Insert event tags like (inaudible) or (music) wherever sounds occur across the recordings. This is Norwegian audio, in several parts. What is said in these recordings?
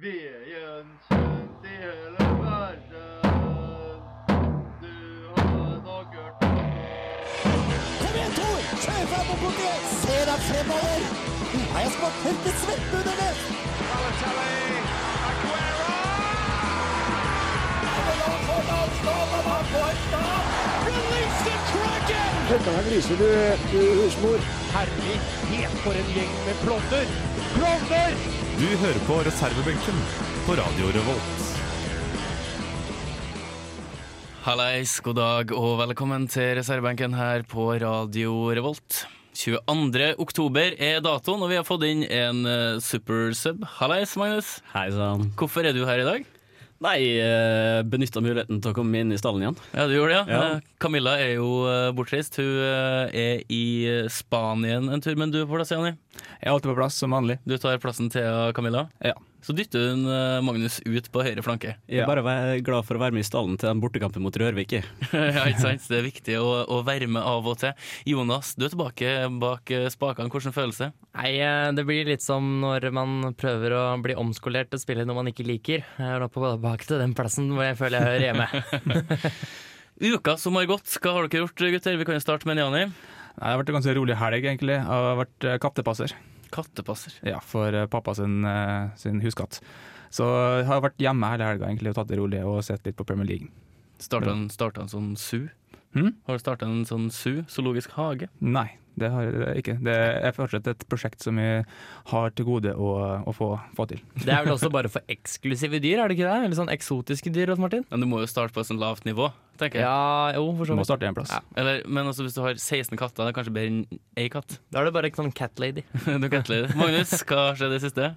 Veden kjent i hele verden. Du har nok hørt om Kom igjen, Tor! Kjør fram og borti! Se deg fremover! Du har jeg smakt tørke svette under det! Du hører på reservebenken på Radio Revolt. Hallais, god dag og velkommen til reservebenken her på Radio Revolt. 22. oktober er datoen, og vi har fått inn en eh, super sub. Hallais, Magnus. Hei sann. Hvorfor er du her i dag? Nei, eh, benytta muligheten til å komme inn i stallen igjen. Ja, du gjorde det, ja. Ja. Eh, Camilla er jo eh, bortreist. Hun eh, er i eh, Spanien en tur, men du er på plass, Jani. Jeg er alltid på plass, som vanlig. Du tar plassen til eh, Camilla. Ja. Så dytter hun eh, Magnus ut på høyre flanke. (laughs) Jeg er Bare vær glad for å være med i stallen til den bortekampen mot Rørvik. jeg. ja, ikke sant? Det er viktig å, å være med av og til. Jonas, du er tilbake bak eh, spakene. Hvordan følelse? Nei, eh, det blir litt som når man prøver å bli omskolert til å spille noe man ikke liker. Jeg er nå på tilbake til den plassen hvor jeg føler jeg hører (laughs) hjemme. Uka som har gått, hva har dere gjort, gutter? Vi kan jo starte med Jani. Nei, Det har vært en ganske rolig helg, egentlig. Jeg har vært eh, kattepasser Kattepasser. ja, for eh, pappa sin, eh, sin huskatt. Så jeg har vært hjemme hele helga egentlig, og tatt det rolig og sett litt på Premier League. Starta en, startet en sånn zoo? Hm? Har du starta en sånn zoo? Zoologisk hage? Nei, det har jeg ikke. Det er fortsatt et prosjekt som jeg har til gode å, å få, få til. Det er vel også bare for eksklusive dyr, er det ikke det? Eller sånn eksotiske dyr, Rolf Martin? Men du må jo starte på et sånt lavt nivå, tenker jeg. Ja, jo, for Du så må vidt. starte en plass. Ja. Eller, men også hvis du har 16 katter, det er kanskje bedre enn én katt. Da er du bare sånn cat lady. (laughs) Du kan ikke lide. Magnus, hva skjedde i det siste?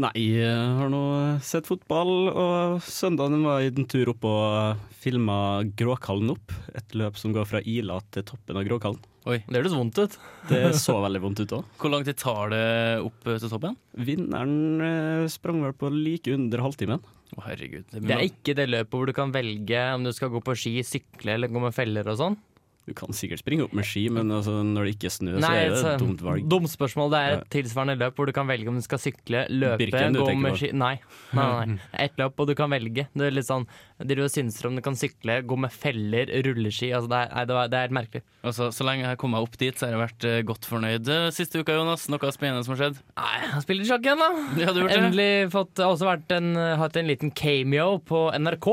Nei, jeg har nå sett fotball, og søndagen var jeg en tur opp og filma Gråkallen opp. Et løp som går fra Ila til toppen av Gråkallen. Det høres vondt ut. Det så veldig vondt ut òg. Hvor langt tar det opp eh, til toppen? Vinneren eh, sprang vel på like under halvtimen. Å, herregud. Det er ikke det løpet hvor du kan velge om du skal gå på ski, sykle eller gå med feller og sånn. Du kan sikkert springe opp med ski, men altså, når det ikke er snø, så Nei, altså- er det så- et dumt valg. Dumt spørsmål. Det er Ja. et tilsvarende løp hvor du kan velge om du skal sykle, løpe, Birken du gå tenker med på? ski Nei. nei, nei, (laughs) nei. Ett løp, og du kan velge. Det er litt sånn Det du synser om du kan sykle, gå med feller, rulleski altså det, er, nei, det, var, det er helt merkelig. Altså, Så lenge jeg kom meg opp dit, så har jeg vært eh, godt fornøyd eh, siste uka, Jonas. Noe spennende som har skjedd? Nei, han spiller sjakk igjen, da. Ja, du har gjort det. Endelig fått, jeg har også vært en, hatt en liten cameo på NRK.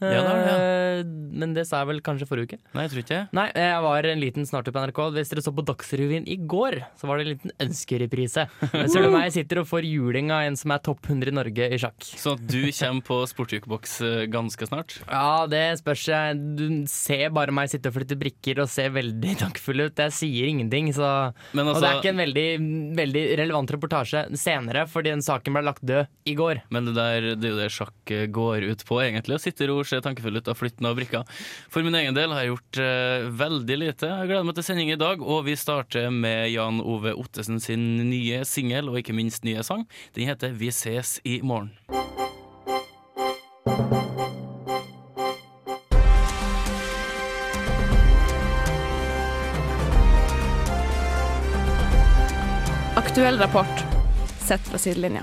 Ja, det har du, ja. Eh, Men det sa jeg vel kanskje forrige uke. Nei, jeg tror ikke det. Nei, jeg var en liten snartur på NRK. Hvis dere så på Dagsrevyen i går, så var det en liten ønskereprise. Der ser du meg sitter og får juling av en som er topp 100 i Norge i sjakk. Så Sånn at du kommer på sportsjukeboks eh, ganske snart. Ja, det spørs. Jeg. Du ser bare meg sitte og flytte brikker og se veldig (laughs) tankfull ut. Jeg sier ingenting, så Men Og det er altså- ikke en veldig, veldig relevant reportasje senere, fordi den saken ble lagt død i går. Men det, der, det er jo det sjakk eh, går ut på, egentlig. Å sitte i ro, se tankefull ut og flytte noen brikker. For min egen del har jeg gjort eh, veldig lite. Jeg gleder meg til sending i dag, og vi starter med Jan Ove Ottesen sin nye singel, og ikke minst nye sang. Den heter Vi ses i morgen. Aktuell rapport sett fra sidelinja.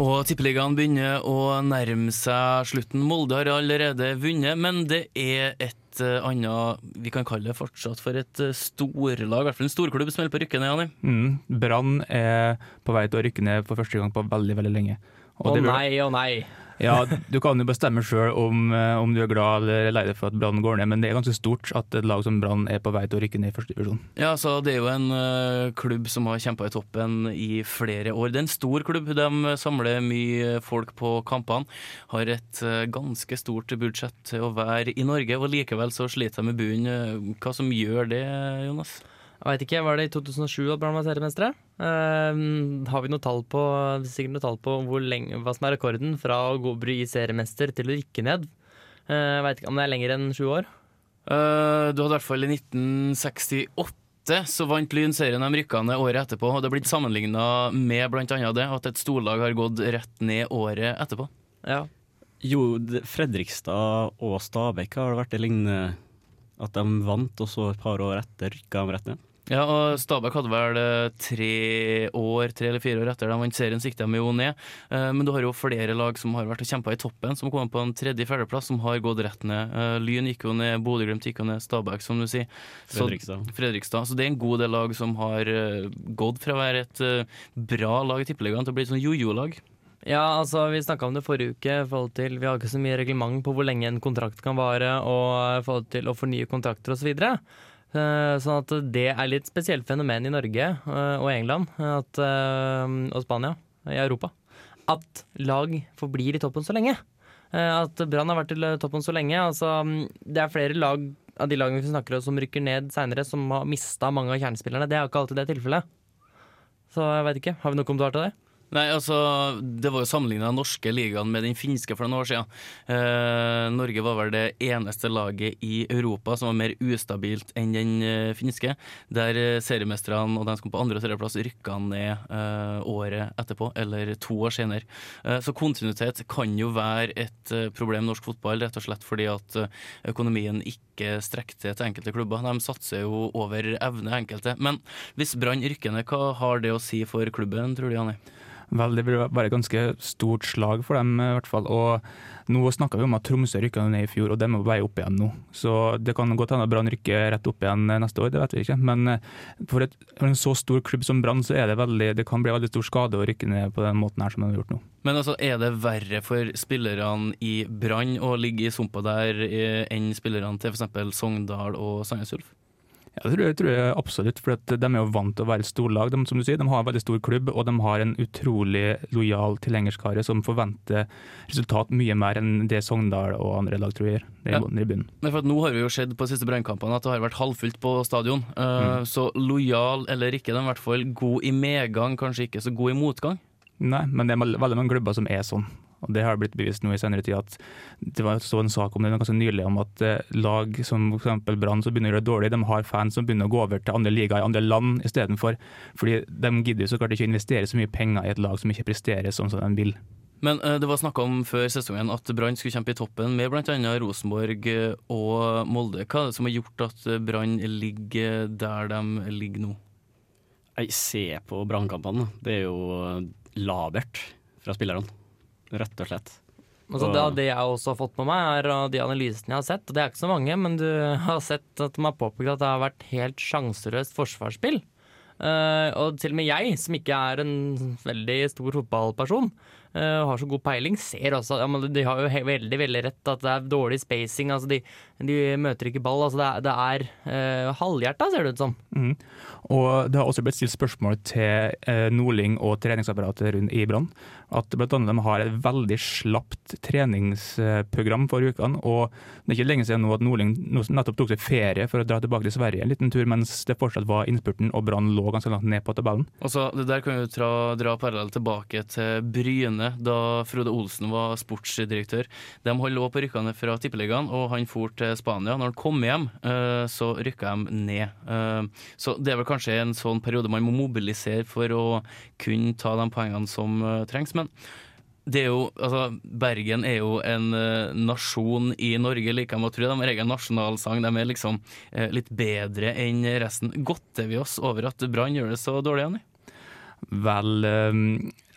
Og Tippeligaen begynner å nærme seg slutten. Molde har allerede vunnet, men det er et eh, annet Vi kan kalle det fortsatt for et eh, storlag, i hvert fall en storklubb som holder på å rykke ned, Jani. Mm. Brann er på vei til å rykke ned for første gang på veldig, veldig lenge. Og Å det blir- nei, å nei. Ja, du kan jo bestemme sjøl om, eh, om du er glad eller lei deg for at Brann går ned, men det er ganske stort at et lag som Brann er på vei til å rykke ned i første divisjon. Ja, så Det er jo en ø, klubb som har kjempa i toppen i flere år. Det er en stor klubb. De samler mye folk på kampene. Har et ø, ganske stort budsjett til å være i Norge, og likevel så sliter de med bunnen. Eh, Hva som gjør det, Jonas? Jeg veit ikke, var det i 2007 at Brann var seriemestere? Ehm, har vi noe tall på, sikkert noe tall på hvor lenge, hva som er rekorden fra å gå bli seriemester til å rykke ned? Eh, Jeg veit ikke om det er lenger enn sju år. Eh, Du hadde i hvert fall i 1968 så vant Lyn serien de rykka ned året etterpå. Og det er blitt sammenligna med bl.a. det at et storlag har gått rett ned året etterpå. Ja. Jo, det- Fredrikstad og Stabæk har det vært det lignende. At de vant, og så et par år etter rykka de rett ned. Ja, og Stabæk hadde vel eh, tre år, tre eller fire år etter de vant serien, sikta de jo ned. Eh, Men du har jo flere lag som har vært og kjempa i toppen, som kom på en tredje-fjerdeplass, som har gått rett ned. Eh, Lyn gikk jo ned, Bodø-Glimt gikk jo ned, Stabæk, som du sier. Så- Fredrikstad. Fredrikstad. Så det er en god del lag som har eh, gått fra å være et eh, bra lag i Tippeligaen til å bli et sånn jojo-lag. Ja, altså Vi snakka om det forrige uke. i forhold til, Vi har ikke så mye reglement på hvor lenge en kontrakt kan vare, og eh, i forhold til å fornye kontrakter osv. Så videre. Eh, sånn at det er litt spesielt fenomen i Norge eh, og England at, eh, og Spania, i Europa, at lag forblir i toppen så lenge. Eh, At Brann har vært i toppen så lenge. Altså, det er flere lag av de lagene vi snakker om som rykker ned seinere, som har mista mange av kjernespillerne. Det er jo ikke alltid det tilfellet. Så jeg veit ikke. Har vi noen kommentar til det? Nei, altså, Det var jo sammenligna den norske ligaen med den finske for noen år siden. Eh, Norge var vel det eneste laget i Europa som var mer ustabilt enn den eh, finske. Der eh, seriemesterne og de som kom på andre- og tredjeplass, rykka ned eh, året etterpå, eller to år senere. Eh, så kontinuitet kan jo være et eh, problem i norsk fotball, rett og slett fordi at eh, økonomien ikke strekker til til enkelte klubber. De satser jo over evne, enkelte. Men hvis Brann rykker ned, hva har det å si for klubben, tror du, Janne? Vel, det vil være et ganske stort slag for dem, eh, i hvert fall. Og nå snakka vi om at Tromsø rykka ned i fjor, og de er på vei opp igjen nå. Så det kan godt hende at Brann rykker rett opp igjen eh, neste år, det vet vi ikke. Men eh, for, et, for en så stor klubb som Brann, så er det veldig, det kan bli veldig stor skade å rykke ned på den måten her som de har gjort nå. Men altså, er det verre for spillerne i Brann å ligge i sumpa der eh, enn spillerne til f.eks. Sogndal og Sandnes Ulf? Ja, det tror jeg, tror jeg absolutt, for at de er jo vant til å være et storlag. De, som du sier, de har en veldig stor klubb, og de har en utrolig lojal tilhengerskare som forventer resultat mye mer enn det Sogndal og andre lag tror jeg gjør. Det er Ja. i bunnen- i bunnen. Nei, for at Nå har vi jo sett på de siste brannkampene at det har vært halvfullt på stadion. Eh, Så lojal eller ikke, de er i hvert fall god i medgang, kanskje ikke så god i motgang. Nei, men det er vel- veldig mange klubber som er sånn. Og Det har blitt bevist nå i senere tid. at Det var så en sak om det ganske nylig om at eh, lag som for eksempel Brann som begynner å gjøre det dårlig, de har fans som begynner å gå over til andre ligaer i andre land istedenfor. Fordi de gidder jo så klart ikke å investere så mye penger i et lag som ikke presterer sånn som de vil. Men eh, det var snakka om før sesongen at Brann skulle kjempe i toppen med bl.a. Rosenborg eh, og Molde. Hva er det som har gjort at eh, Brann ligger der de ligger nå? Nei, se på brannkampene. Det er jo eh, labert fra spillerne, rett og slett. Altså, det, det jeg også har fått med meg, er av de analysene jeg har sett, og det er ikke så mange, men du (laughs) har sett at de har påpekt at det har vært helt sjanseløst forsvarsspill. Eh, og til og med jeg, som ikke er en veldig stor fotballperson, eh, og har så god peiling, ser også at ja, men de har jo he veldig veldig rett at det er dårlig spacing. Altså de, de møter ikke ball. Altså det er, det er eh, halvhjerta, ser det ut som. Og det har også blitt stilt spørsmål til eh, Nordling og treningsapparatet rundt i Brann. At blant annet de har et veldig slapt treningsprogram for ukene. Og det er ikke lenge siden nå at Nordling nå nettopp tok seg ferie for å dra tilbake til Sverige en liten tur, mens det fortsatt var innspurten og Brann lå ganske langt ned på tabellen. Altså, det der kan vi jo dra, dra parallell tilbake til Bryne, da Frode Olsen var sportsdirektør. De holdt lå på rykkene fra Tippeligaen, og han for til Spania. Når han kom hjem, eh, så rykka de ned. Eh, Så det er vel kanskje en sånn periode man må mobilisere for å kunne ta de poengene som eh, trengs. men det er jo, altså, Bergen er jo en eh, nasjon i Norge, liker jeg å tro. De har egen nasjonalsang. De er liksom eh, litt bedre enn resten. Godter vi oss over at Brann gjør det så dårlig, Jenny? Vel ehm,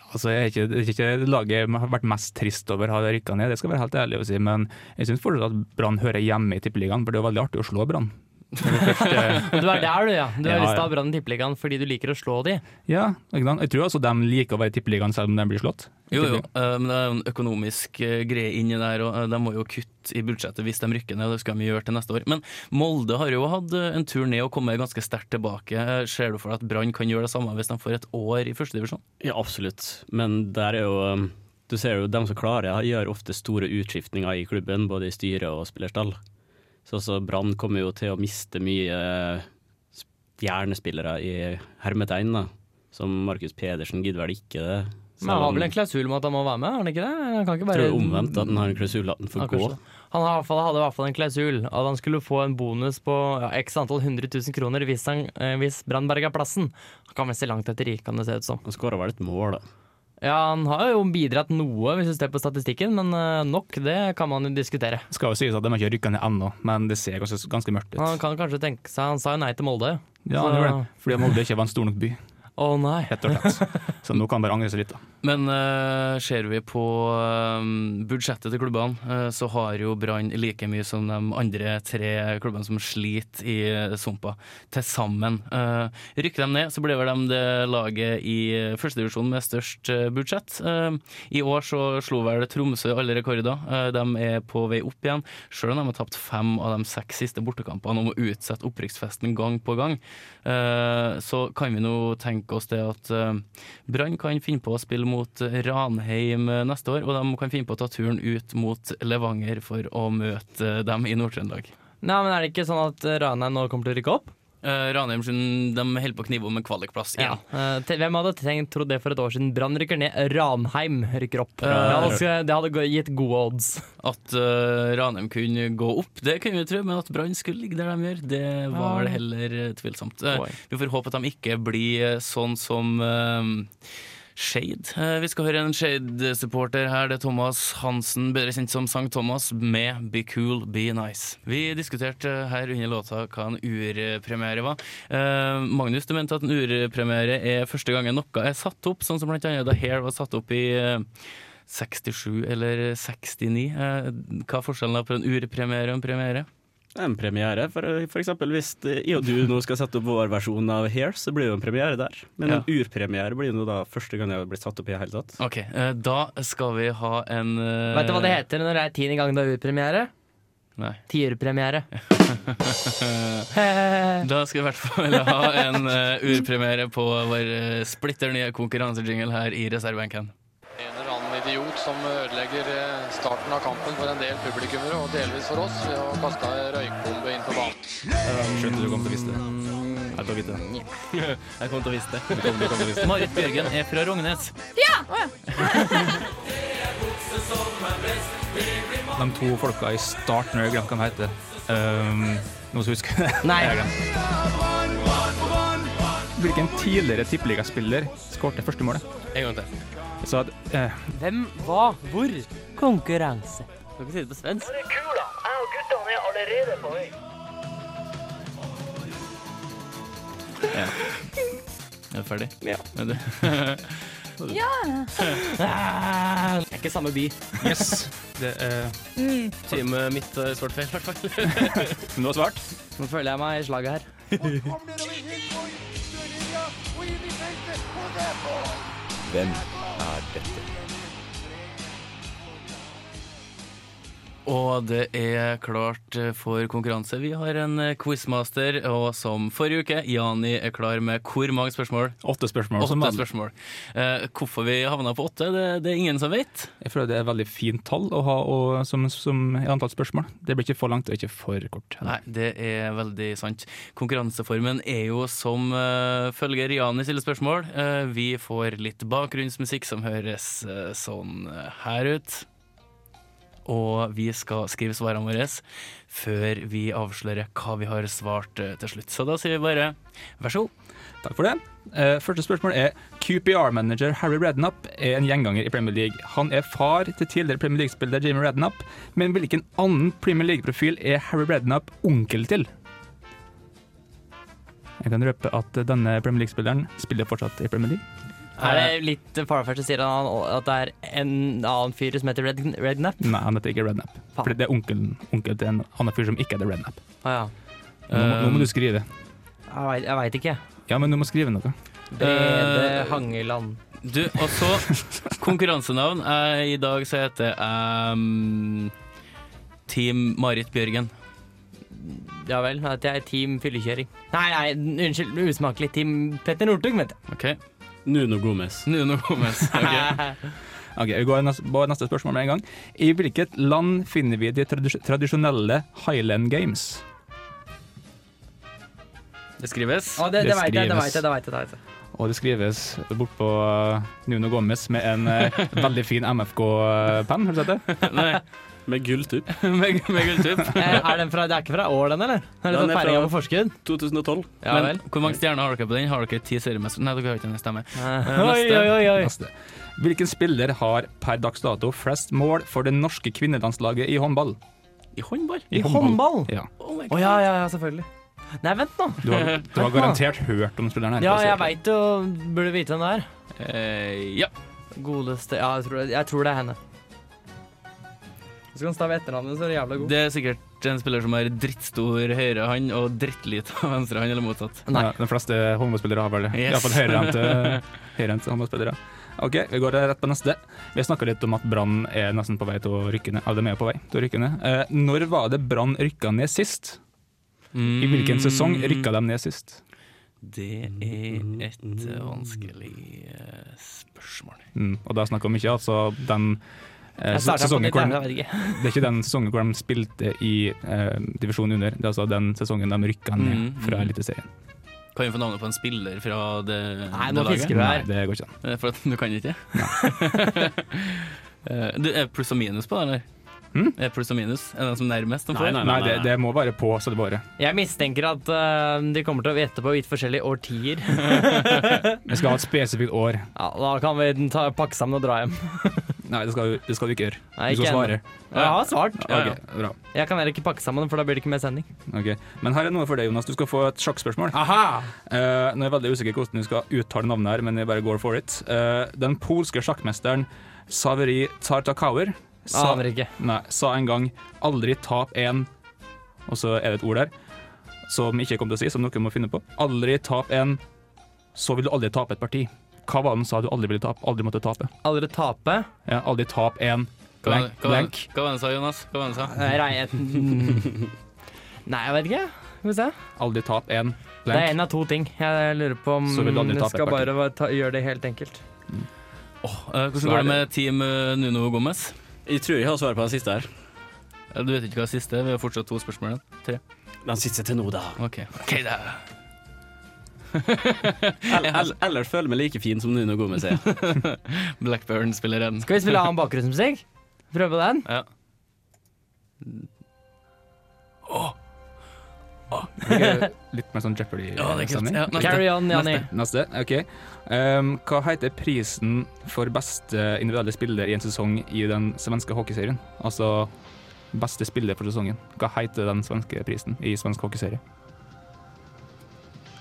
Altså, jeg er ikke, det er ikke laget jeg har vært mest trist over har rykka ned, det skal jeg være helt ærlig å si. Men jeg syns fortsatt at Brann hører hjemme i Tippeligaen, for det er jo veldig artig å slå Brann. Når du først, eh, Du er der, du, ja. Du Ja, har lyst til ja. å ha Brann i Tippeligaen fordi du liker å slå de. Ja, ikke sant? jeg tror altså de liker å være i Tippeligaen selv om de blir slått. Jo, jo, eh, men det er jo en økonomisk eh, greie inni der, og eh, de må jo kutte i budsjettet hvis de rykker ned, og det skal de gjøre til neste år. Men Molde har jo hatt eh, en tur ned og kommet ganske sterkt tilbake. Eh, Ser du for deg at Brann kan gjøre det samme hvis de får et år i førstedivisjon? Ja, absolutt. Men der er jo um, Du ser jo dem som klarer det, gjør ofte store utskiftninger i klubben, både i styret og spillerstall. Så også Brann kommer jo til å miste mye eh, sp- hjernespillere i hermetegn, da. Som Markus Pedersen gidder vel ikke det. Men han Selv har om- vel en klausul med at han må være med, har han ikke det? Han kan ikke Jeg bare tror det er omvendt, at den har en klausul at den Ja, får gå. kanskje det. Han har i hvert fall, hadde i hvert fall en klausul at han skulle få en bonus på ja, x antall 100 000 kroner hvis, han, eh, hvis Brann berga plassen. Han kan vel se langt etter rik, kan det se ut som. Han skåra vel et mål, da. Ja, Han har jo bidratt noe, hvis du ser på statistikken, men eh, nok, det kan man jo diskutere. Det skal jo sies at de har ikke rykka ned ennå, men det ser ganske, ganske mørkt ut. Han kan kanskje tenke seg Han sa jo nei til Molde. Ja, Så- det var det. Fordi Molde ikke var en stor nok by, Å nei. rett (laughs) og slett. Så nå kan han bare angre seg litt, da. Men eh, ser vi på eh, budsjettet til klubbene, eh, så har jo Brann like mye som de andre tre klubbene som sliter i eh, sumpa, til sammen. Eh, rykker de ned, så blir vel de det laget i førstedivisjonen med størst eh, budsjett. Eh, I år så slo vel Tromsø alle rekorder. Eh, de er på vei opp igjen, selv om de har tapt fem av de seks siste bortekampene og må utsette opprykksfesten gang på gang. Eh, så kan vi nå tenke oss det at eh, Brann kan finne på å spille mot Ranheim neste år, og de kan finne på å ta turen ut mot Levanger for å møte dem i Nord-Trøndelag. Nei, men Er det ikke sånn at Ranheim nå kommer til å rykke opp? Eh, Ranheim sin- de holder på å knive om en kvalikplass igjen. Eh, til- hvem hadde tenkt, trodd det for et år siden? Brann rykker ned, Ranheim rykker opp. Ja. det, hadde, det hadde gå- gitt gode odds. At eh, Ranheim kunne gå opp, det kunne vi tro, men at Brann skulle ligge der de gjør, det var vel heller eh, tvilsomt. Eh, Poeng. vi får håpe at de ikke blir sånn som eh, Shade. Eh, vi skal høre en Shade-supporter her. Det er Thomas Hansen, bedre kjent som Sankt Thomas, med Be Cool, Be Nice. Vi diskuterte eh, her under låta hva en urpremiere var. Eh, Magnus, du mente at en urpremiere er første gangen noe er satt opp, sånn som blant annet da Hair var satt opp i eh, 67 eller 69. Eh, Hva er forskjellen da på en urpremiere og en premiere? Det er en premiere. For, for eksempel hvis eh, jeg og du nå skal sette opp vår versjon av Hair, så blir det jo en premiere der. Men Ja. en urpremiere blir jo da første gang jeg har blitt satt opp i det hele tatt. Ok, eh, da skal vi ha en eh, Vet du hva det heter når det er tiende gang det er urpremiere? Nei. (laughs) Tierpremiere. Da skal vi i hvert fall ha en eh, urpremiere på vår eh, splitter nye konkurransejingle her i reservebenken. En eller annen idiot som ødelegger eh, starten av kampen for en del publikummere, og delvis for oss, ved å kaste ei røykbombe inn på banen. Skjønte du kom til å vise det. Jeg tar vite det. Jeg kom til å vise det. Marit Bjørgen er fra Rognes. De to folka i starten, jeg glemte hva de heter. Um, noen som husker det? Nei. Jeg har glemt. Hvilken tidligere tippeligaspiller skåret første målet? En gang til. Så at, eh, Hvem, hva, hvor? Konkurranse. Du kan si det på svensk. Er du ferdig? Ja. Er du- Det er ikke samme by. yes. Det, eh, Teamet mitt har svart feil, i hvert fall. men du har svart? Nå føler jeg meg i slaget her. (laughs) Og det er klart eh, for konkurranse. Vi har en eh, quizmaster, og som forrige uke, Jani er klar med hvor mange spørsmål? Åtte spørsmål. som Åtte vanlig. spørsmål. Eh, hvorfor vi havna på åtte, det, det er ingen som vet. Jeg føler det er et veldig fint tall å ha og, som, som i antall spørsmål. Det blir ikke for langt og ikke for kort. Nei, det er veldig sant. Konkurranseformen er jo som eh, følger Jani stiller spørsmål. Eh, vi får litt bakgrunnsmusikk som høres eh, sånn eh, her ut. Og vi skal skrive svarene våre før vi avslører hva vi har svart eh, til slutt. Så da sier vi bare vær så god. Takk for det. Eh, første spørsmål er QPR-manager Harry Redknapp er en gjenganger i Premier League. Han er far til tidligere Premier League-spiller Jamie Redknapp, men hvilken annen Premier League-profil er Harry Redknapp onkel til? Jeg kan røpe at denne Premier League-spilleren spiller fortsatt i Premier League. Er det litt farfetch som sier han at det er en annen fyr som heter Red, Redknapp? Nei, han heter ikke Redknapp. Fordi det er onkelen onkel til en annen fyr som ikke heter Redknapp. Å ja. Nå, må- nå må du skrive. Jeg veit- Jeg veit ikke. Ja, men du må skrive noe. Brede Eh, Hangeland. Du, og så konkurransenavn. Eh, I dag så heter jeg mm, Team Marit Bjørgen. Ja vel, at jeg er team fyllekjøring. Nei, nei, unnskyld, usmakelig. Team Petter Northug, mente jeg. OK? Nuno Gomez. Nuno (laughs) Gomez. ok. Ok, Vi går nes- på neste spørsmål med en gang. I hvilket land finner vi de tradis- tradisjonelle Highland Games? Det skrives. Å, det, Det det vet jeg, det skrives. vet jeg, det vet jeg, det vet jeg. Og det skrives bortpå Nuno Gomez med en eh, veldig fin MFK-penn. Har du sett det? Nei, (laughs) Med gulltupp. med, med gulltupp. Eh, Er den fra, det er ikke fra Ål, den, eller? Er det Den sånn er fra- feiringa på forskudd? 2012. Ja Men vel. hvor mange stjerner har dere på den? Har dere ti seriemestere? Nei, dere har ikke den stemme. Eh, Oi, neste. oi, oi, oi. Neste. Hvilken spiller har per dags dato flest mål for det norske kvinnelandslaget i håndball? I håndball? I Håndball? Ja. Oh my Å God. ja, ja, ja, selvfølgelig. Nei, vent nå. Du har, du har garantert hørt om spilleren her. Ja, jeg veit jo Burde vite hvem det er. Eh, ja. Godeste Ja, jeg tror, jeg tror det er henne. Så kan du stave etternavnet, så er du jævla god. Det er sikkert en spiller som har drittstor høyre hand og drittlita (laughs) venstre hand, eller motsatt. Nei. Ja, de fleste håndballspillere har vel Yes. iallfall høyrehendte høyrehendte håndballspillere. OK, vi går rett på neste. Vi snakka litt om at Brann er nesten på vei til å rykke ned. Ja, de er jo på vei til å rykke ned. Eh, når var det Brann rykka ned sist? I Mm. hvilken sesong rykka de ned sist? Det Mm. er et vanskelig eh, spørsmål. Mm, og da snakker vi ikke altså den eh, Jeg starta på sesongen nytt, hvor jeg, de, men jeg vet ikke. det er ikke den sesongen hvor de spilte i eh, divisjonen under, det er altså den sesongen de rykka ned Mm, fra mm. Eliteserien. Kan vi få navnet på en spiller fra det, Nei, det nå laget? fisker du Nei, her. det går ikke an. Eh, For at du kan ikke? (laughs) Eh, du, er det pluss og minus på det, eller? Hm? Er det pluss og minus? Er det den som nærmest de Nei, får? nei, Nei, det, det må være på selve året. Jeg mistenker at eh, de kommer til å gjette på vidt forskjellige årtier. Vi skal ha et spesifikt år. Ja, Da kan vi ta, pakke sammen og dra hjem. Nei, det skal, du- det skal du ikke gjøre. Nei, Du skal ikke svare. Jeg har svart. Ja, ja. Ok, bra. Jeg kan heller ikke pakke sammen, for da blir det ikke mer sending. Ok. Men her er noe for deg, Jonas. Du skal få et sjakkspørsmål. Eh, nå er jeg veldig usikker hvordan du skal uttale navnet her, men jeg bare går for it. Eh, den polske sjakkmesteren Saveri Tartakauer sa, Aner ikke. nei, sa en gang 'aldri tap en' Og så er det et ord der som ikke jeg kom til å si, som noen må finne på. 'Aldri tap en', så vil du aldri tape et parti. Hva var det han sa du aldri ville tape? Aldri måtte tape. Aldri tape. Ja, aldri tap en. Hva var Blank. det- hva var blank. det- hva var det han sa, Jonas? Hva var det han sa? Nei, jeg- (laughs) Nei, jeg vet ikke. Skal vi se. Aldri tap en. Det er Blank. en av to ting. Jeg lurer på om Så vil du aldri jeg tape et skal parti. bare va- ta, gjøre det helt enkelt. Eh, hvordan Så går er det med Team eh, Nuno Gomez? Jeg tror jeg har svar på den siste her. Eh, Du vet ikke hva det siste er, vi har fortsatt to spørsmål igjen. Den siste til nå, da. Ok, (laughs) Ok, da. Eller, eller, eller føler meg like fin som Nuno Gomez er. Blackburn-spilleren. Skal vi spille annen bakgrunnsmusikk? Prøve den? Ja. Ok, Litt mer sånn Jeopardy. Ja, det er kult. stemning. Ja, neste. Carry on, Janni. Neste, ok. Ehm, hva heter prisen for beste individuelle spiller i en sesong i den svenske hockeyserien? Altså beste spiller for sesongen. Hva heter den svenske prisen i svensk hockeyserie?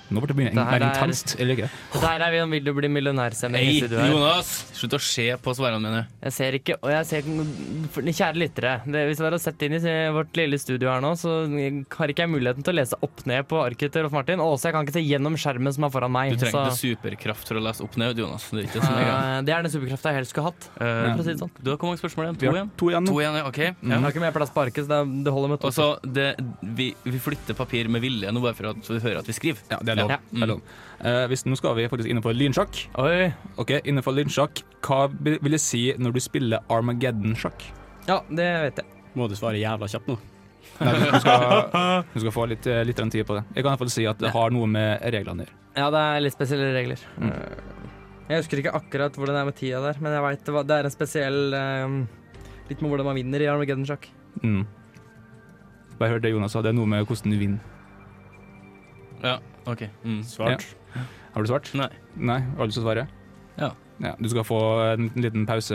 Nå ble det begynne Det her mer er- intenst, eller ikke? Dette her er vi om Vil du bli millionær-sending. i Hei, studio her. Jonas! Slutt å se på svarene mine. Jeg ser ikke Og jeg ser ikke- for- Kjære lyttere, det, hvis dere har sett inn i se- vårt lille studio her nå, så har ikke jeg muligheten til å lese opp ned på arket til Rolf Martin. Og også, jeg kan ikke se gjennom skjermen som er foran meg. Du trenger ikke så, superkraft for å lese opp ned, Jonas. Det er ikke sånn jeg Eh, det er den superkrafta jeg helst skulle hatt. er. For å Eh, si det sånn. Du har hvor mange spørsmål igjen? Vi To har igjen? to igjen To nå. igjen, ja, OK. Jeg Ja. har ikke mer plass på arket, så det, er- det holder med to. Og så, det, vi, vi flytter papir med vilje nå, bare for at vi hører at vi skriver. Ja, det er lov. Ja. Det er lov. Eh, hvis, nå skal vi faktisk innenfor lynsjakk. Oi. Ok, innenfor lynsjakk, hva be- vil det si når du spiller Armageddon-sjakk? Ja, det vet jeg. (laughs) Må du svare jævla kjapt nå? Nei, Du (laughs) skal, du skal få litt, eh, litt tid på det. Jeg kan i hvert fall si at det har noe med reglene å gjøre. Ja, det er litt spesielle regler. Mm. Jeg husker ikke akkurat hvordan det er med tida der, men jeg vet det, var- det er en spesiell eh, Litt med hvordan man vinner i Armageddon-sjakk. Mm. Bare hørte det Jonas sa, det er noe med hvordan du vinner. Ja, OK. Mm. Svart. Har du svart? Nei. Nei, Har du lyst til å svare? Ja. Du skal få en liten pause,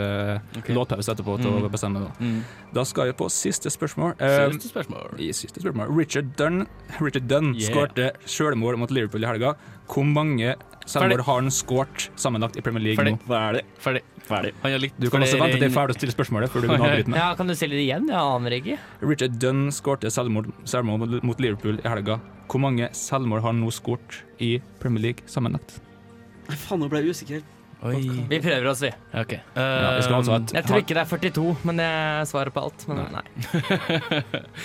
Ok. låtpause etterpå til Mm. å bestemme. Da. Mm. da skal vi på siste spørsmål. Um, Seriøst spørsmål. i siste spørsmål. Richard Dunn, Richard Dunn Yeah. skårte selvmål mot Liverpool i helga. Hvor mange selvmål Ferdig. har han skåret sammenlagt i Premier League Ferdig. nå? Ferdig. Ferdig. Ferdig. Han har litt Du kan også flere vente til jeg er enn- ferdig å stille spørsmålet før du (laughs) begynner å avbryte meg. Ja, Kan du stille det igjen? Jeg aner ikke. Richard Dunn skårte selvmål, selvmål mot- mot Liverpool i helga. Hvor mange selvmål har han nå skåret i Premier League sammenlagt? Nei, faen, nå ble jeg usikker. Oi. Vi prøver oss, vi. OK. Ja, vi skal altså ha et- Jeg tror ikke det er 42, men jeg svarer på alt. Men nei.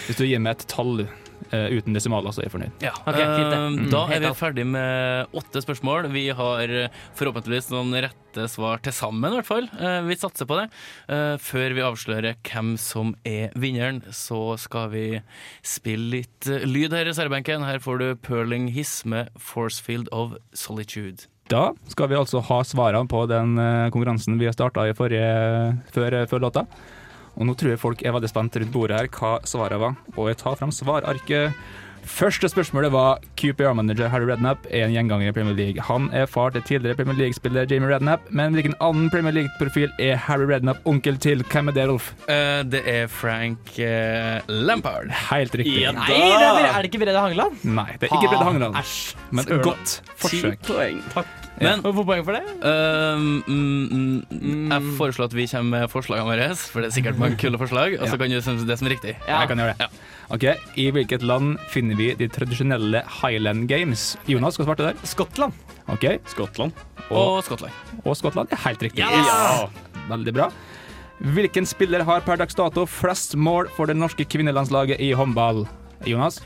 Hvis du gir meg et tall eh, uten desimaler, så er jeg fornøyd. Ja, Ok, fint det. Mm. eh, Da er helt vi alt. ferdig med åtte spørsmål. Vi har eh, forhåpentligvis noen rette svar til sammen, i hvert fall. Eh, Vi satser på det. Eh, Før vi avslører hvem som er vinneren, så skal vi spille litt eh, lyd her i reservebenken. Her får du Perling Hiss med 'Forcefield of Solitude'. Da skal vi altså ha svarene på den eh, konkurransen vi starta i forrige, før, eh, før låta. Og nå tror jeg folk er veldig spent rundt bordet her hva svarene var. Og jeg tar fram svararket. Første spørsmålet var QPR-manager Harry Redknapp er en gjenganger i Premier League. Han er far til tidligere Premier League-spiller Jamie Redknapp, men hvilken annen Premier League-profil er Harry Redknapp onkel til? Hvem er det, Rolf? Eh, det er Frank eh, Lampard. Helt riktig. Nei, det er, Brede- er det ikke Brede Hangeland? Nei, det er ikke Brede Hangeland, Æsj. men søren. godt forsøk. poeng. Men Må jeg få poeng for det? Øhm, mm, mm, jeg foreslår at vi kommer med forslagene våre, for det er sikkert mange kule forslag. Og så Ja. kan du synes det som er riktig. Jeg kan gjøre det. Ok, I hvilket land finner vi de tradisjonelle Highland Games? Jonas skal svarte der. Skottland. Ok, Skottland. Og, Og Skottland. og Skottland er helt riktig. Ah! Veldig bra. Hvilken spiller har per dags dato flest mål for det norske kvinnelandslaget i håndball? Jonas?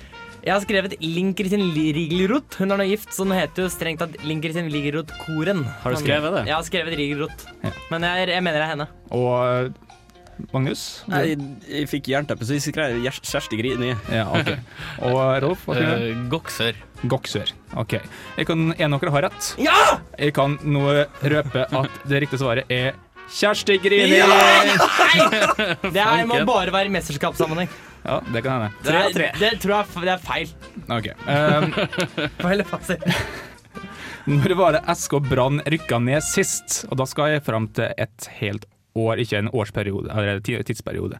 Jeg har skrevet Linn Kristin Rigelrot. Hun er nå gift, så hun heter jo strengt tatt Linn Kristin Rigelrot Koren. Har du skrevet det? Jeg har skrevet Rigelrot, Ja. men jeg, jeg mener det er henne. Og Magnus? Nei, jeg fikk jernteppe, så jeg skrev Gjer- Kjersti Grini. Ja, ok. Og Rolf? Hva skriver du? Eh, Goksør. Goksør. OK. Jeg kan, en av dere har rett. Ja! Jeg kan nå røpe at det riktige svaret er Kjersti Grini! Det her må Fanken. bare være i mesterskapssammenheng. Ja, det kan hende. Det, er- det tror jeg f- det er feil. Ok. Um, Feil fasit. når var det SK Brann rykka ned sist? Og da skal jeg fram til et helt år, ikke en årsperiode, eller en ti- tidsperiode.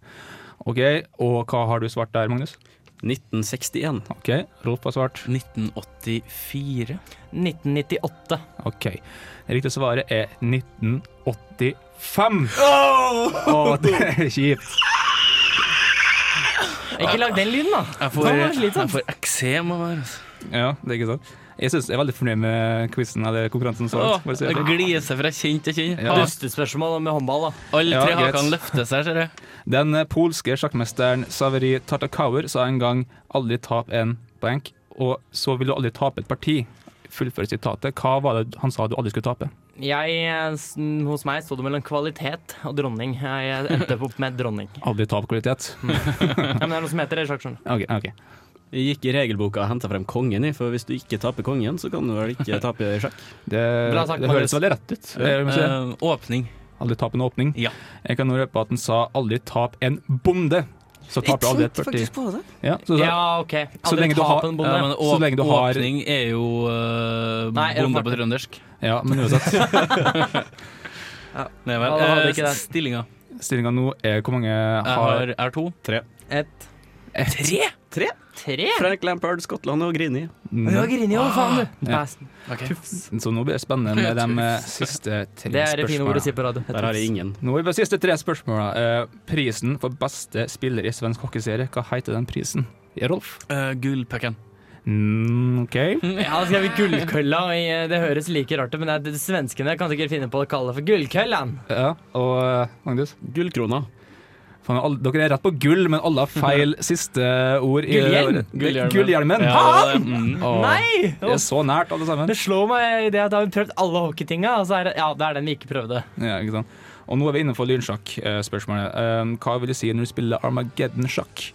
OK, og hva har du svart der, Magnus? 1961. OK, Rolf har svart. 1984. 1998. OK. Det riktige svaret er 1985. Å, det er kjipt. Ikke lag den lyden, da. Jeg får, Det var slitsomt. jeg får eksem av det. her, altså. Ja, det er ikke sant. Jeg synes jeg er veldig fornøyd med quizen eller konkurransen. så langt, Åh, bare si Det det. sånn. gliser fra kinn til kinn. Ja. Dustespørsmål med håndball, da. Alle Ja, tre greit. hakene løfter seg, ser jeg. Den polske sjakkmesteren Saveri Tartakauer sa en gang 'aldri tap en blank', og så vil du aldri tape et parti. Fullføre sitatet. Hva var det han sa du aldri skulle tape? Jeg, eh, s- hos meg sto det mellom kvalitet og dronning. Jeg endte opp med dronning. Aldri tap kvalitet. Ja, men det er noe som heter det, Sjakk, skjønner du. Ok, ok. Jeg gikk i regelboka og henta frem kongen, jeg, for hvis du ikke taper kongen, så kan du vel ikke tape i sjakk. Det, Bra sagt, det høres Magnus. veldig rett ut. Det må jeg si. Eh, åpning. Aldri tap en åpning. Ja. Jeg kan nå røpe at han sa 'aldri tap en bonde'. Så taper du aldri et parti. på det. Ja, så, så, Ja, OK. Så lenge Aldri du har- tap en bonde. Ja, men Så åp lenge du har- Åpning er jo eh, Nei, er det bonde fart? på trøndersk. ja, men uansett. Nei Ja, vel. da hadde Eh, ikke det. Stillinga. Stillinga nå er hvor mange Jeg har har R2. Et, Tre? tre. Frank Lampard, Skottland og Grini. Du har grini òg, faen, du. Ja. Ok. Mm, Så nå blir det spennende (laughs) med de eh, siste tre Det er det fine spørsmålene. ordet å si på radio. Der har jeg ingen. Nå er vi på de siste tre spørsmålene. Eh, prisen for beste spiller i svensk hockeyserie, hva heter den prisen? Ja, Rolf? Eh, Gullpucken. Mm, OK. Ja, da skrev vi gullkølla, og eh, det høres like rart ut, men det er- svenskene kan sikkert finne på å kalle det for gullkøllan. Ja, og eh, Magnus? Gullkrona. Faen, alle, dere er rett på gull, men alle har (laughs) feil siste ord. i- Gullhjelm? Gullhjelmen. Gullhjelmen. Ja, det- mm. Åh, Nei! Det er så nært, alle sammen. Det slår meg i det at da har vi prøvd alle hockeytinga, og så er det Ja, det er den vi ikke prøvde. Ja, ikke sant? Og nå er vi innenfor lynsjakk-spørsmålet. eh, hva vil du si når du spiller Armageddon-sjakk?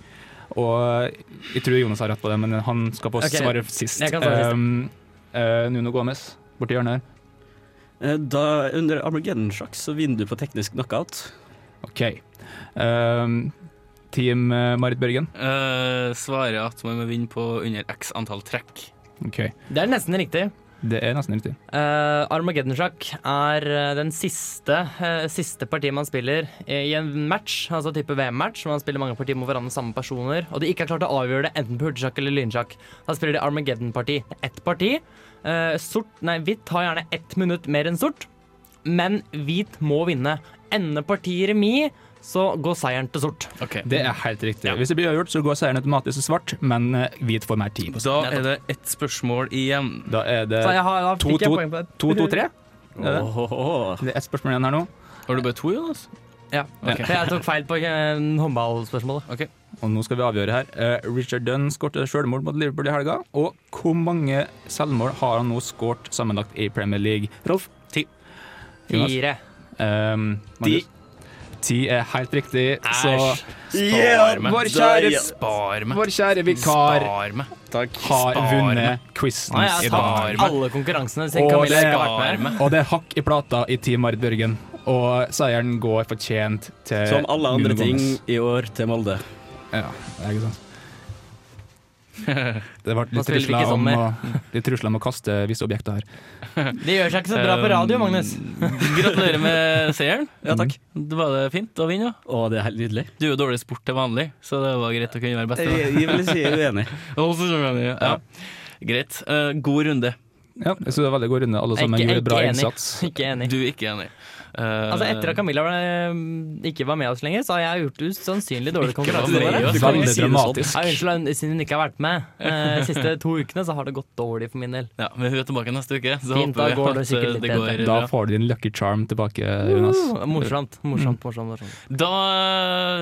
Og eh, jeg tror Jonas har rett på det, men han skal få Ok, svare sist. jeg kan svare sist. Um, eh, Nuno Gomez, borti hjørnet her. Eh, Da, under Armageddon-sjakk så vinner du på teknisk knockout. OK. Um, team eh, Marit Børgen. Eh, svarer at man må vinne på under x antall trekk. OK. Det er nesten riktig. Det er nesten riktig. Eh, Armageddon-sjakk er eh, den siste, eh, siste partiet man spiller i en match, altså type VM-match, hvor man spiller mange partier mot hverandre samme personer, og de ikke har klart å avgjøre det enten på hurtigsjakk eller lynsjakk. Da spiller de Armageddon-parti. Ett parti. eh, sort, nei, hvitt har gjerne ett minutt mer enn sort, men hvit må vinne. Ender partiet i remis, så går seieren til sort. Ok. Det er helt riktig. Hvis det blir avgjort, så går seieren automatisk til svart, men eh, hvit får mer tid. på seg. Da er det ett spørsmål igjen. Da er det Så jeg har, da fikk jeg 2-2. poeng på det. 2-2-3. Det er det. Åhåhå. Det er ett spørsmål igjen her nå. Har du bare to, Jonas? Ja, Ok. for (laughs) jeg tok feil på eh, håndballspørsmålet. Og nå skal vi avgjøre her. Eh, Richard Dunn skåret selvmord mot Liverpool i helga. Og hvor mange selvmål har han nå skåret sammenlagt i Premier League? Rolf? Ti. Jonas? Fire. Ehm, Magnus? Ti er helt riktig, så Spar meg. vår kjære, Spar meg. vår kjære vikar Spar meg. har Spar vunnet Nå quizen har jeg i tapt dag. alle konkurransene. Så Og Camilla det- ikke har vært med. (laughs) Og det er hakk i plata i Team Marit Børgen. Og seieren går fortjent til Som alle andre Nuno ting Gomes. i år til Molde. (laughs) Ja, det er ikke sant. Det ble Man litt spiller ikke trusler om, sommer. å- litt trusler om å kaste visse objekter her. Det gjør seg ikke så bra på radio, Um, Magnus. Gratulerer med seieren. Mm. Ja, takk. Det var det fint å vinne, ja. Og det er helt nydelig. Du er jo dårlig i sport til vanlig, så det var greit å kunne være best. Jeg, jeg vil si (laughs) jeg er uenig. Ja. Ja. Greit. Eh, god runde. Ja, jeg synes det var veldig god runde. Alle Jeg er sammen ikke- jeg er gjorde bra ikke enig. innsats. (laughs) Ikke enig. Du er ikke enig. Eh, Altså Etter at Camilla ble, ikke var med oss lenger, så har jeg gjort usannsynlig dårlige Ikke konkurranser. var med oss. våre. Du Skal vi Veldig si det sånn? dramatisk. Ja, Unnskyld, siden hun ikke har vært med eh, de siste to ukene, så har det gått dårlig for min del. ja, men hun er tilbake neste uke, så Fint, da håper vi går det at sikkert eh, litt det bedre. går Da bra. får du din lucky charm tilbake, Jonas. Uh, Morsomt. morsomt, morsomt, morsomt. Da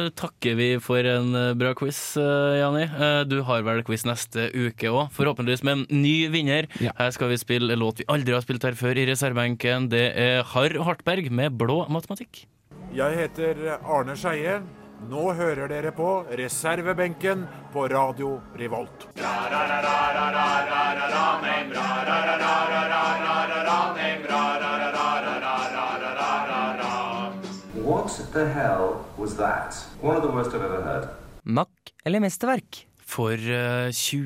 eh, takker vi for en eh, bra quiz, eh, Jani. Eh, du har vel quiz neste uke òg, forhåpentligvis med en ny vinner. Ja. Her skal vi spille en låt vi aldri har spilt her før i reservebenken. Det er Harr Hartberg med Blå matematikk. Jeg heter Arne Skeie. Nå hører dere på reservebenken på Radio Revolt. What the hell was that? One of the worst I've ever heard. Mack eller mesterverk? For eh, 20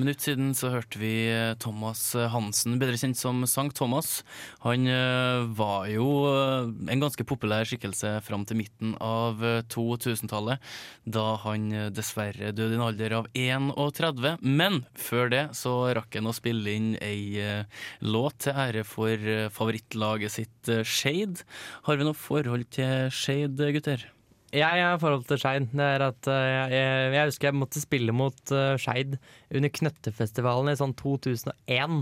minutter siden så hørte vi eh, Thomas Hansen, bedre kjent som Sankt Thomas. Han eh, var jo eh, en ganske populær skikkelse fram til midten av eh, 2000-tallet, da han eh, dessverre døde i en alder av 31. Men før det så rakk han å spille inn ei eh, låt til ære for eh, favorittlaget sitt eh, Shade. Har vi noe forhold til Shade, gutter? Jeg har forhold til Skeid. Det er at eh, jeg, jeg husker jeg måtte spille mot uh, Skeid under Knøttefestivalen i sånn 2001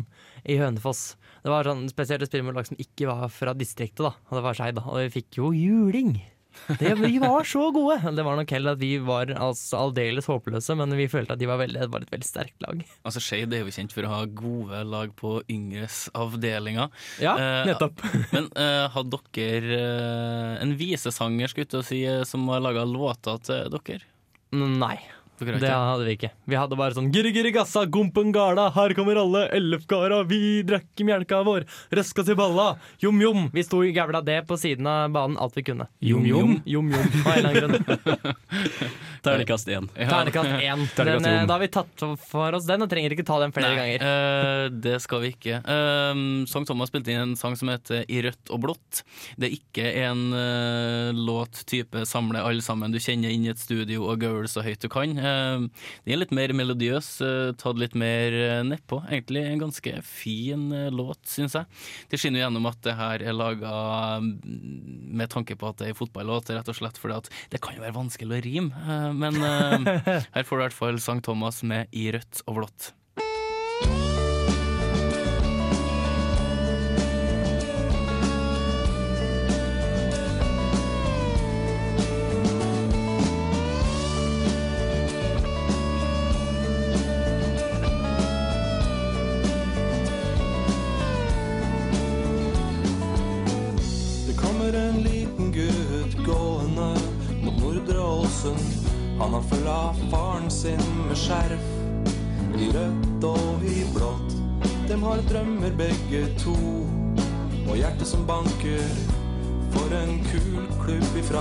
i Hønefoss. Det var sånn spesielt å spille mot lag som ikke var fra distriktet, da. Og det var Skeid, da. Og vi fikk jo juling! Det, vi var så gode! (laughs) Det var nok heller at vi var altså, aldeles håpløse, men vi følte at de var, veldig, det var et veldig sterkt lag. Altså Skeid er jo kjent for å ha gode lag på yngres avdelinger. Ja, Eh, nettopp. (laughs) Men eh, hadde dere eh, en visesanger skulle jeg til å si, eh, som har laga låter til dere? Nei. Dere har Det ikke? hadde vi ikke. Vi hadde bare sånn Giri giri gassa, gumpen gala, her kommer alle, ellefgara, vi drakk mjelka vår, røska til balla, jom jom. Vi sto i gævla det på siden av banen alt vi kunne. Jom, jom. Jom jom, av en eller annen grunn. Terningkast én. Ternekast én. Den, eh, Da har vi tatt for oss den, og trenger ikke ta den flere Nei, ganger. eh, det skal vi ikke. Um, Sankt Thomas spilte inn en sang som heter I rødt og blått. Det er ikke en eh, låt type samle alle sammen du kjenner inn i et studio og gaul så høyt du kan. Um, den er litt mer melodiøs, eh, tatt litt mer eh, nedpå. Egentlig en ganske fin eh, låt, syns jeg. Det skinner jo gjennom at det her er laga med tanke på at det er en fotballåt, rett og slett fordi at det kan jo være vanskelig å rime, eh, men (laughs) eh, her får du i hvert fall Sankt Thomas med I rødt og blått. Det kommer en liten gutt gående mot Nordre Ålesund. Han har følga faren sin med skjerf, i rødt og i blått. Dem har drømmer begge to, og hjertet som banker. For en kul klubb ifra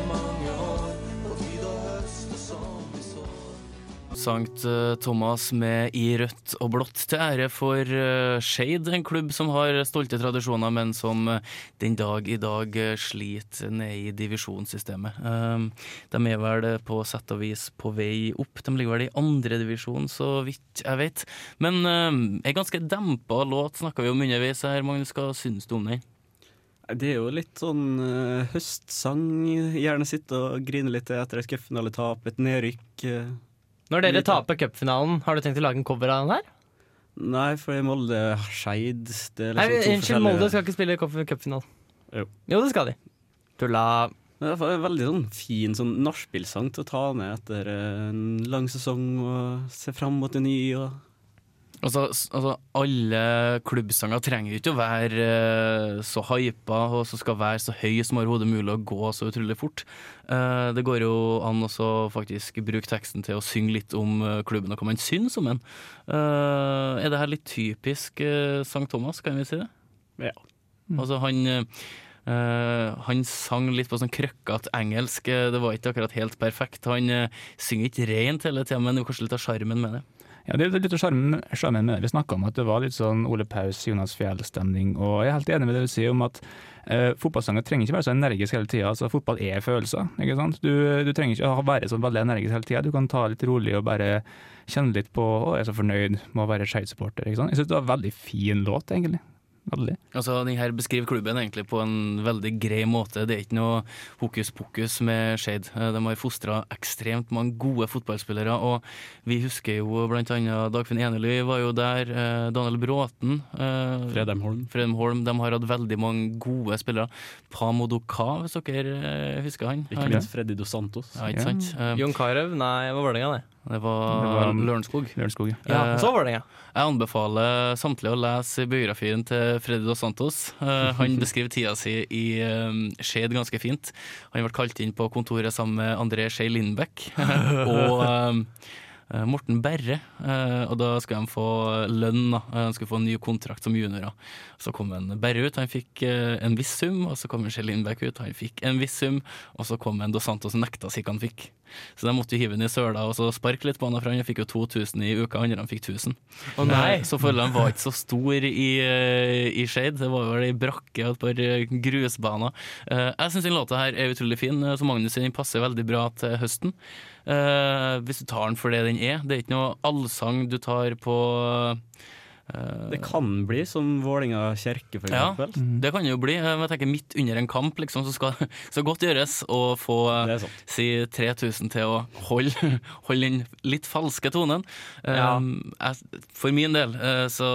i mange år, på tide å høste som de sår. Sankt eh, Thomas med i rødt og blått til ære for eh, Skeid, en klubb som har stolte tradisjoner, men som eh, den dag i dag eh, sliter ned i divisjonssystemet. Eh, De er vel eh, på sett og vis på vei opp, de ligger vel i andre divisjon, så vidt jeg vet. Men eh, en ganske dempa låt snakka vi om underveis her, Magnus, hva syns du om den? Det er jo litt sånn eh, høstsang. Gjerne sitte og grine litt etter et cupfinaletap, et nedrykk. eh. Når dere taper cupfinalen, har du tenkt å lage en cover av den her? Nei, for i Molde Skeid det er liksom Nei, to Unnskyld, forskjellige- Molde skal ikke spille cup- cupfinalen. Jo. jo, det skal de. Tulla. Men Det er fa- veldig sånn fin sånn nachspielsang til å ta med etter eh, en lang sesong og se fram mot en ny. Og Altså, s- altså, alle klubbsanger trenger jo ikke å være eh, så hypa og så skal være så høy som overhodet mulig og gå så utrolig fort. Eh, det går jo an også faktisk bruke teksten til å synge litt om eh, klubben og hva man syns om den. Eh, er det her litt typisk eh, Sankt Thomas, kan vi si det? Ja. Altså, han eh, han sang litt på sånn krøkkete engelsk, eh, det var ikke akkurat helt perfekt. Han eh, synger ikke rent hele tida, men det er jo kanskje litt av sjarmen med det. Ja, Det er litt av sjarmen sjarmen med det. Vi snakka om at det var litt sånn Ole Paus, Jonas Fjell-stemning. Og jeg er helt enig med det du sier om at eh, fotballsanger trenger ikke være så energisk hele tida. Altså, fotball er følelser. ikke sant? Du, du trenger ikke å være så veldig energisk hele tida. Du kan ta det litt rolig og bare kjenne litt på å, jeg er så fornøyd med å være Skeid-supporter. ikke sant? Jeg syns det var en veldig fin låt, egentlig. Veldig. Altså, den her beskriver klubben egentlig på en veldig grei måte. Det er ikke noe hokus pokus med Skeid. Eh, De har fostra ekstremt mange gode fotballspillere, og vi husker jo blant annet Dagfinn Enely var jo der, eh, Daniel Bråten eh, Fredheim Holm. Fredheim Holm. De har hatt veldig mange gode spillere. Pamo Doka, hvis dere eh, husker han. Ikke Han- minst Freddy Dos Santos. Ja, ikke sant? Eh, Jon Carew? Nei, det var Vålerenga, det. Det var, Det var- Lørenskog. Lørenskog, Ja, Eh, så var det, ja. Jeg anbefaler samtlige å lese biografien til Freddy Dos Santos. Eh, han beskriver tida si i um, Skeid ganske fint. Han ble kalt inn på kontoret sammen med André Skei Lindbekk og eh, Morten Berre. Eh, og da skulle de få lønn, da. Eh, De skulle få en ny kontrakt som juniorer. Så kom en Berre ut, han fikk eh, en viss sum. Og så kom en Skei Lindbekk ut, han fikk en viss sum. Og så kom en Dos Santos og nekta si hva han fikk. Så de måtte jo hive han i søla og så sparke litt på han, for han fikk jo 2000 i uka, andre han fikk 1000. Å, nei. Eh, Så følgene var ikke så stor i, eh, i Shade. Det var vel ei brakke og et par eh, grusbaner. Eh, Jeg syns den låta her er utrolig fin. eh, Som Magnus sier, den passer veldig bra til høsten. Eh, Hvis du tar den for det den er. Det er ikke noe allsang du tar på eh, Det kan bli som Vålinga kirke, for ja, eksempel. det kan det jo bli. Eh, Men jeg tenker midt under en kamp, liksom, så skal (laughs) så godt gjøres å få eh, si 3000 til å (laughs) holde, holde den litt falske tonen. Ja. Um, jeg, for min del eh, så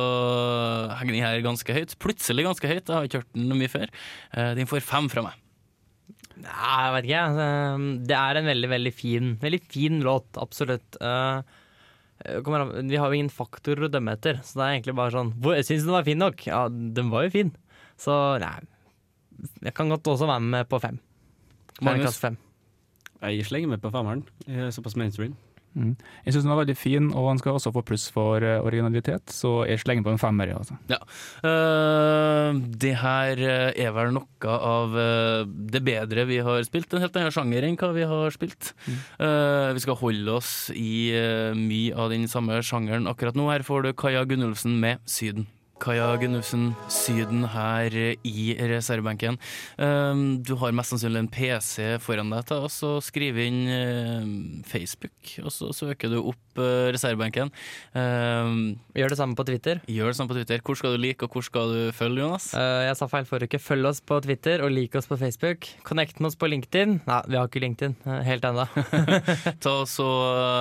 henger den her ganske høyt. Plutselig ganske høyt, jeg har ikke hørt den mye før. Eh, Den får fem fra meg. Nei, jeg vet ikke. jeg. Altså, Det er en veldig, veldig fin, veldig fin låt, absolutt. Eh, eh, kommer an- vi har jo ingen faktorer å dømme etter, så det er egentlig bare sånn hvor, Syns du den var fin nok? Ja, den var jo fin. Så nei, jeg kan godt også være med på fem. Magnus? Magnus? Fem. Jeg slenger meg på femmeren. Jeg er Såpass mainstream. Mm. Jeg syns den var veldig fin, og han skal også få pluss for eh, originalitet, så jeg slenger på en femmer. ja, altså. Ja. Eh, det her eh, er vel noe av eh, det bedre vi har spilt. En helt annen sjanger enn hva vi har spilt. Eh, vi skal holde oss i eh, mye av den samme sjangeren akkurat nå. Her får du Kaja Gunnulfsen med 'Syden'. Kaja Gunnufsen, Syden her eh, i reservebenken. Eh, Du har mest sannsynlig en PC foran deg, ta, og så skriv inn eh, Facebook, og så søker du opp eh, reservebenken. Eh, Gjør det samme på Twitter. Gjør det samme på Twitter. Hvor skal du like, og hvor skal du følge, Jonas? Eh, jeg sa feil forrige uke. Følg oss på Twitter og lik oss på Facebook. Connect med oss på LinkedIn. Nei, vi har ikke LinkedIn eh, helt ennå. Ta og så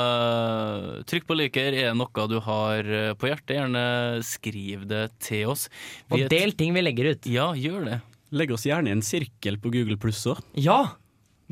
eh, Trykk på liker. Er det noe du har eh, på hjertet, gjerne skriv det til oss. Og del ting vi legger ut. Ja, gjør det. Legg oss gjerne i en sirkel på Google pluss òg. Ja!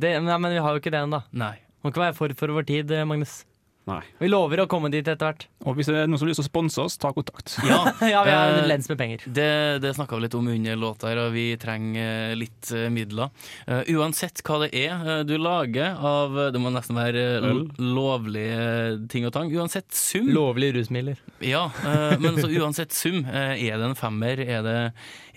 Det, nei, men vi har jo ikke det ennå. Nei. Må ikke være for for vår tid, eh, Magnus. Nei. Vi lover å komme dit etter hvert. Og hvis det er noen som har lyst til å sponse oss, ta kontakt. Ja, Ja, vi har eh, lens med penger. Det, det snakka vi litt om under låta, her, og vi trenger eh, litt eh, midler. Eh, uansett hva det er eh, du lager av eh, Det må nesten være eh, Øl. lovlige eh, ting og tang. Uansett sum. Lovlige rusmidler. Ja, eh, men så uansett sum, eh, er det en femmer, er det,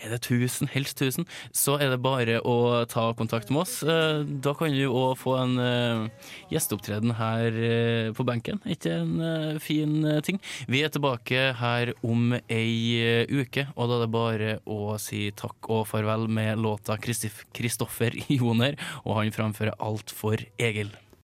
er det 1000, helst 1000, så er det bare å ta kontakt med oss. Eh, Da kan du òg få en eh, gjesteopptreden her eh, på benken. Ikke en eh, fin eh, ting. Vi er tilbake her om ei eh, uke, og da er det bare å si takk og farvel med låta Kristif- 'Kristoffer Joner', og han framfører alt for Egil.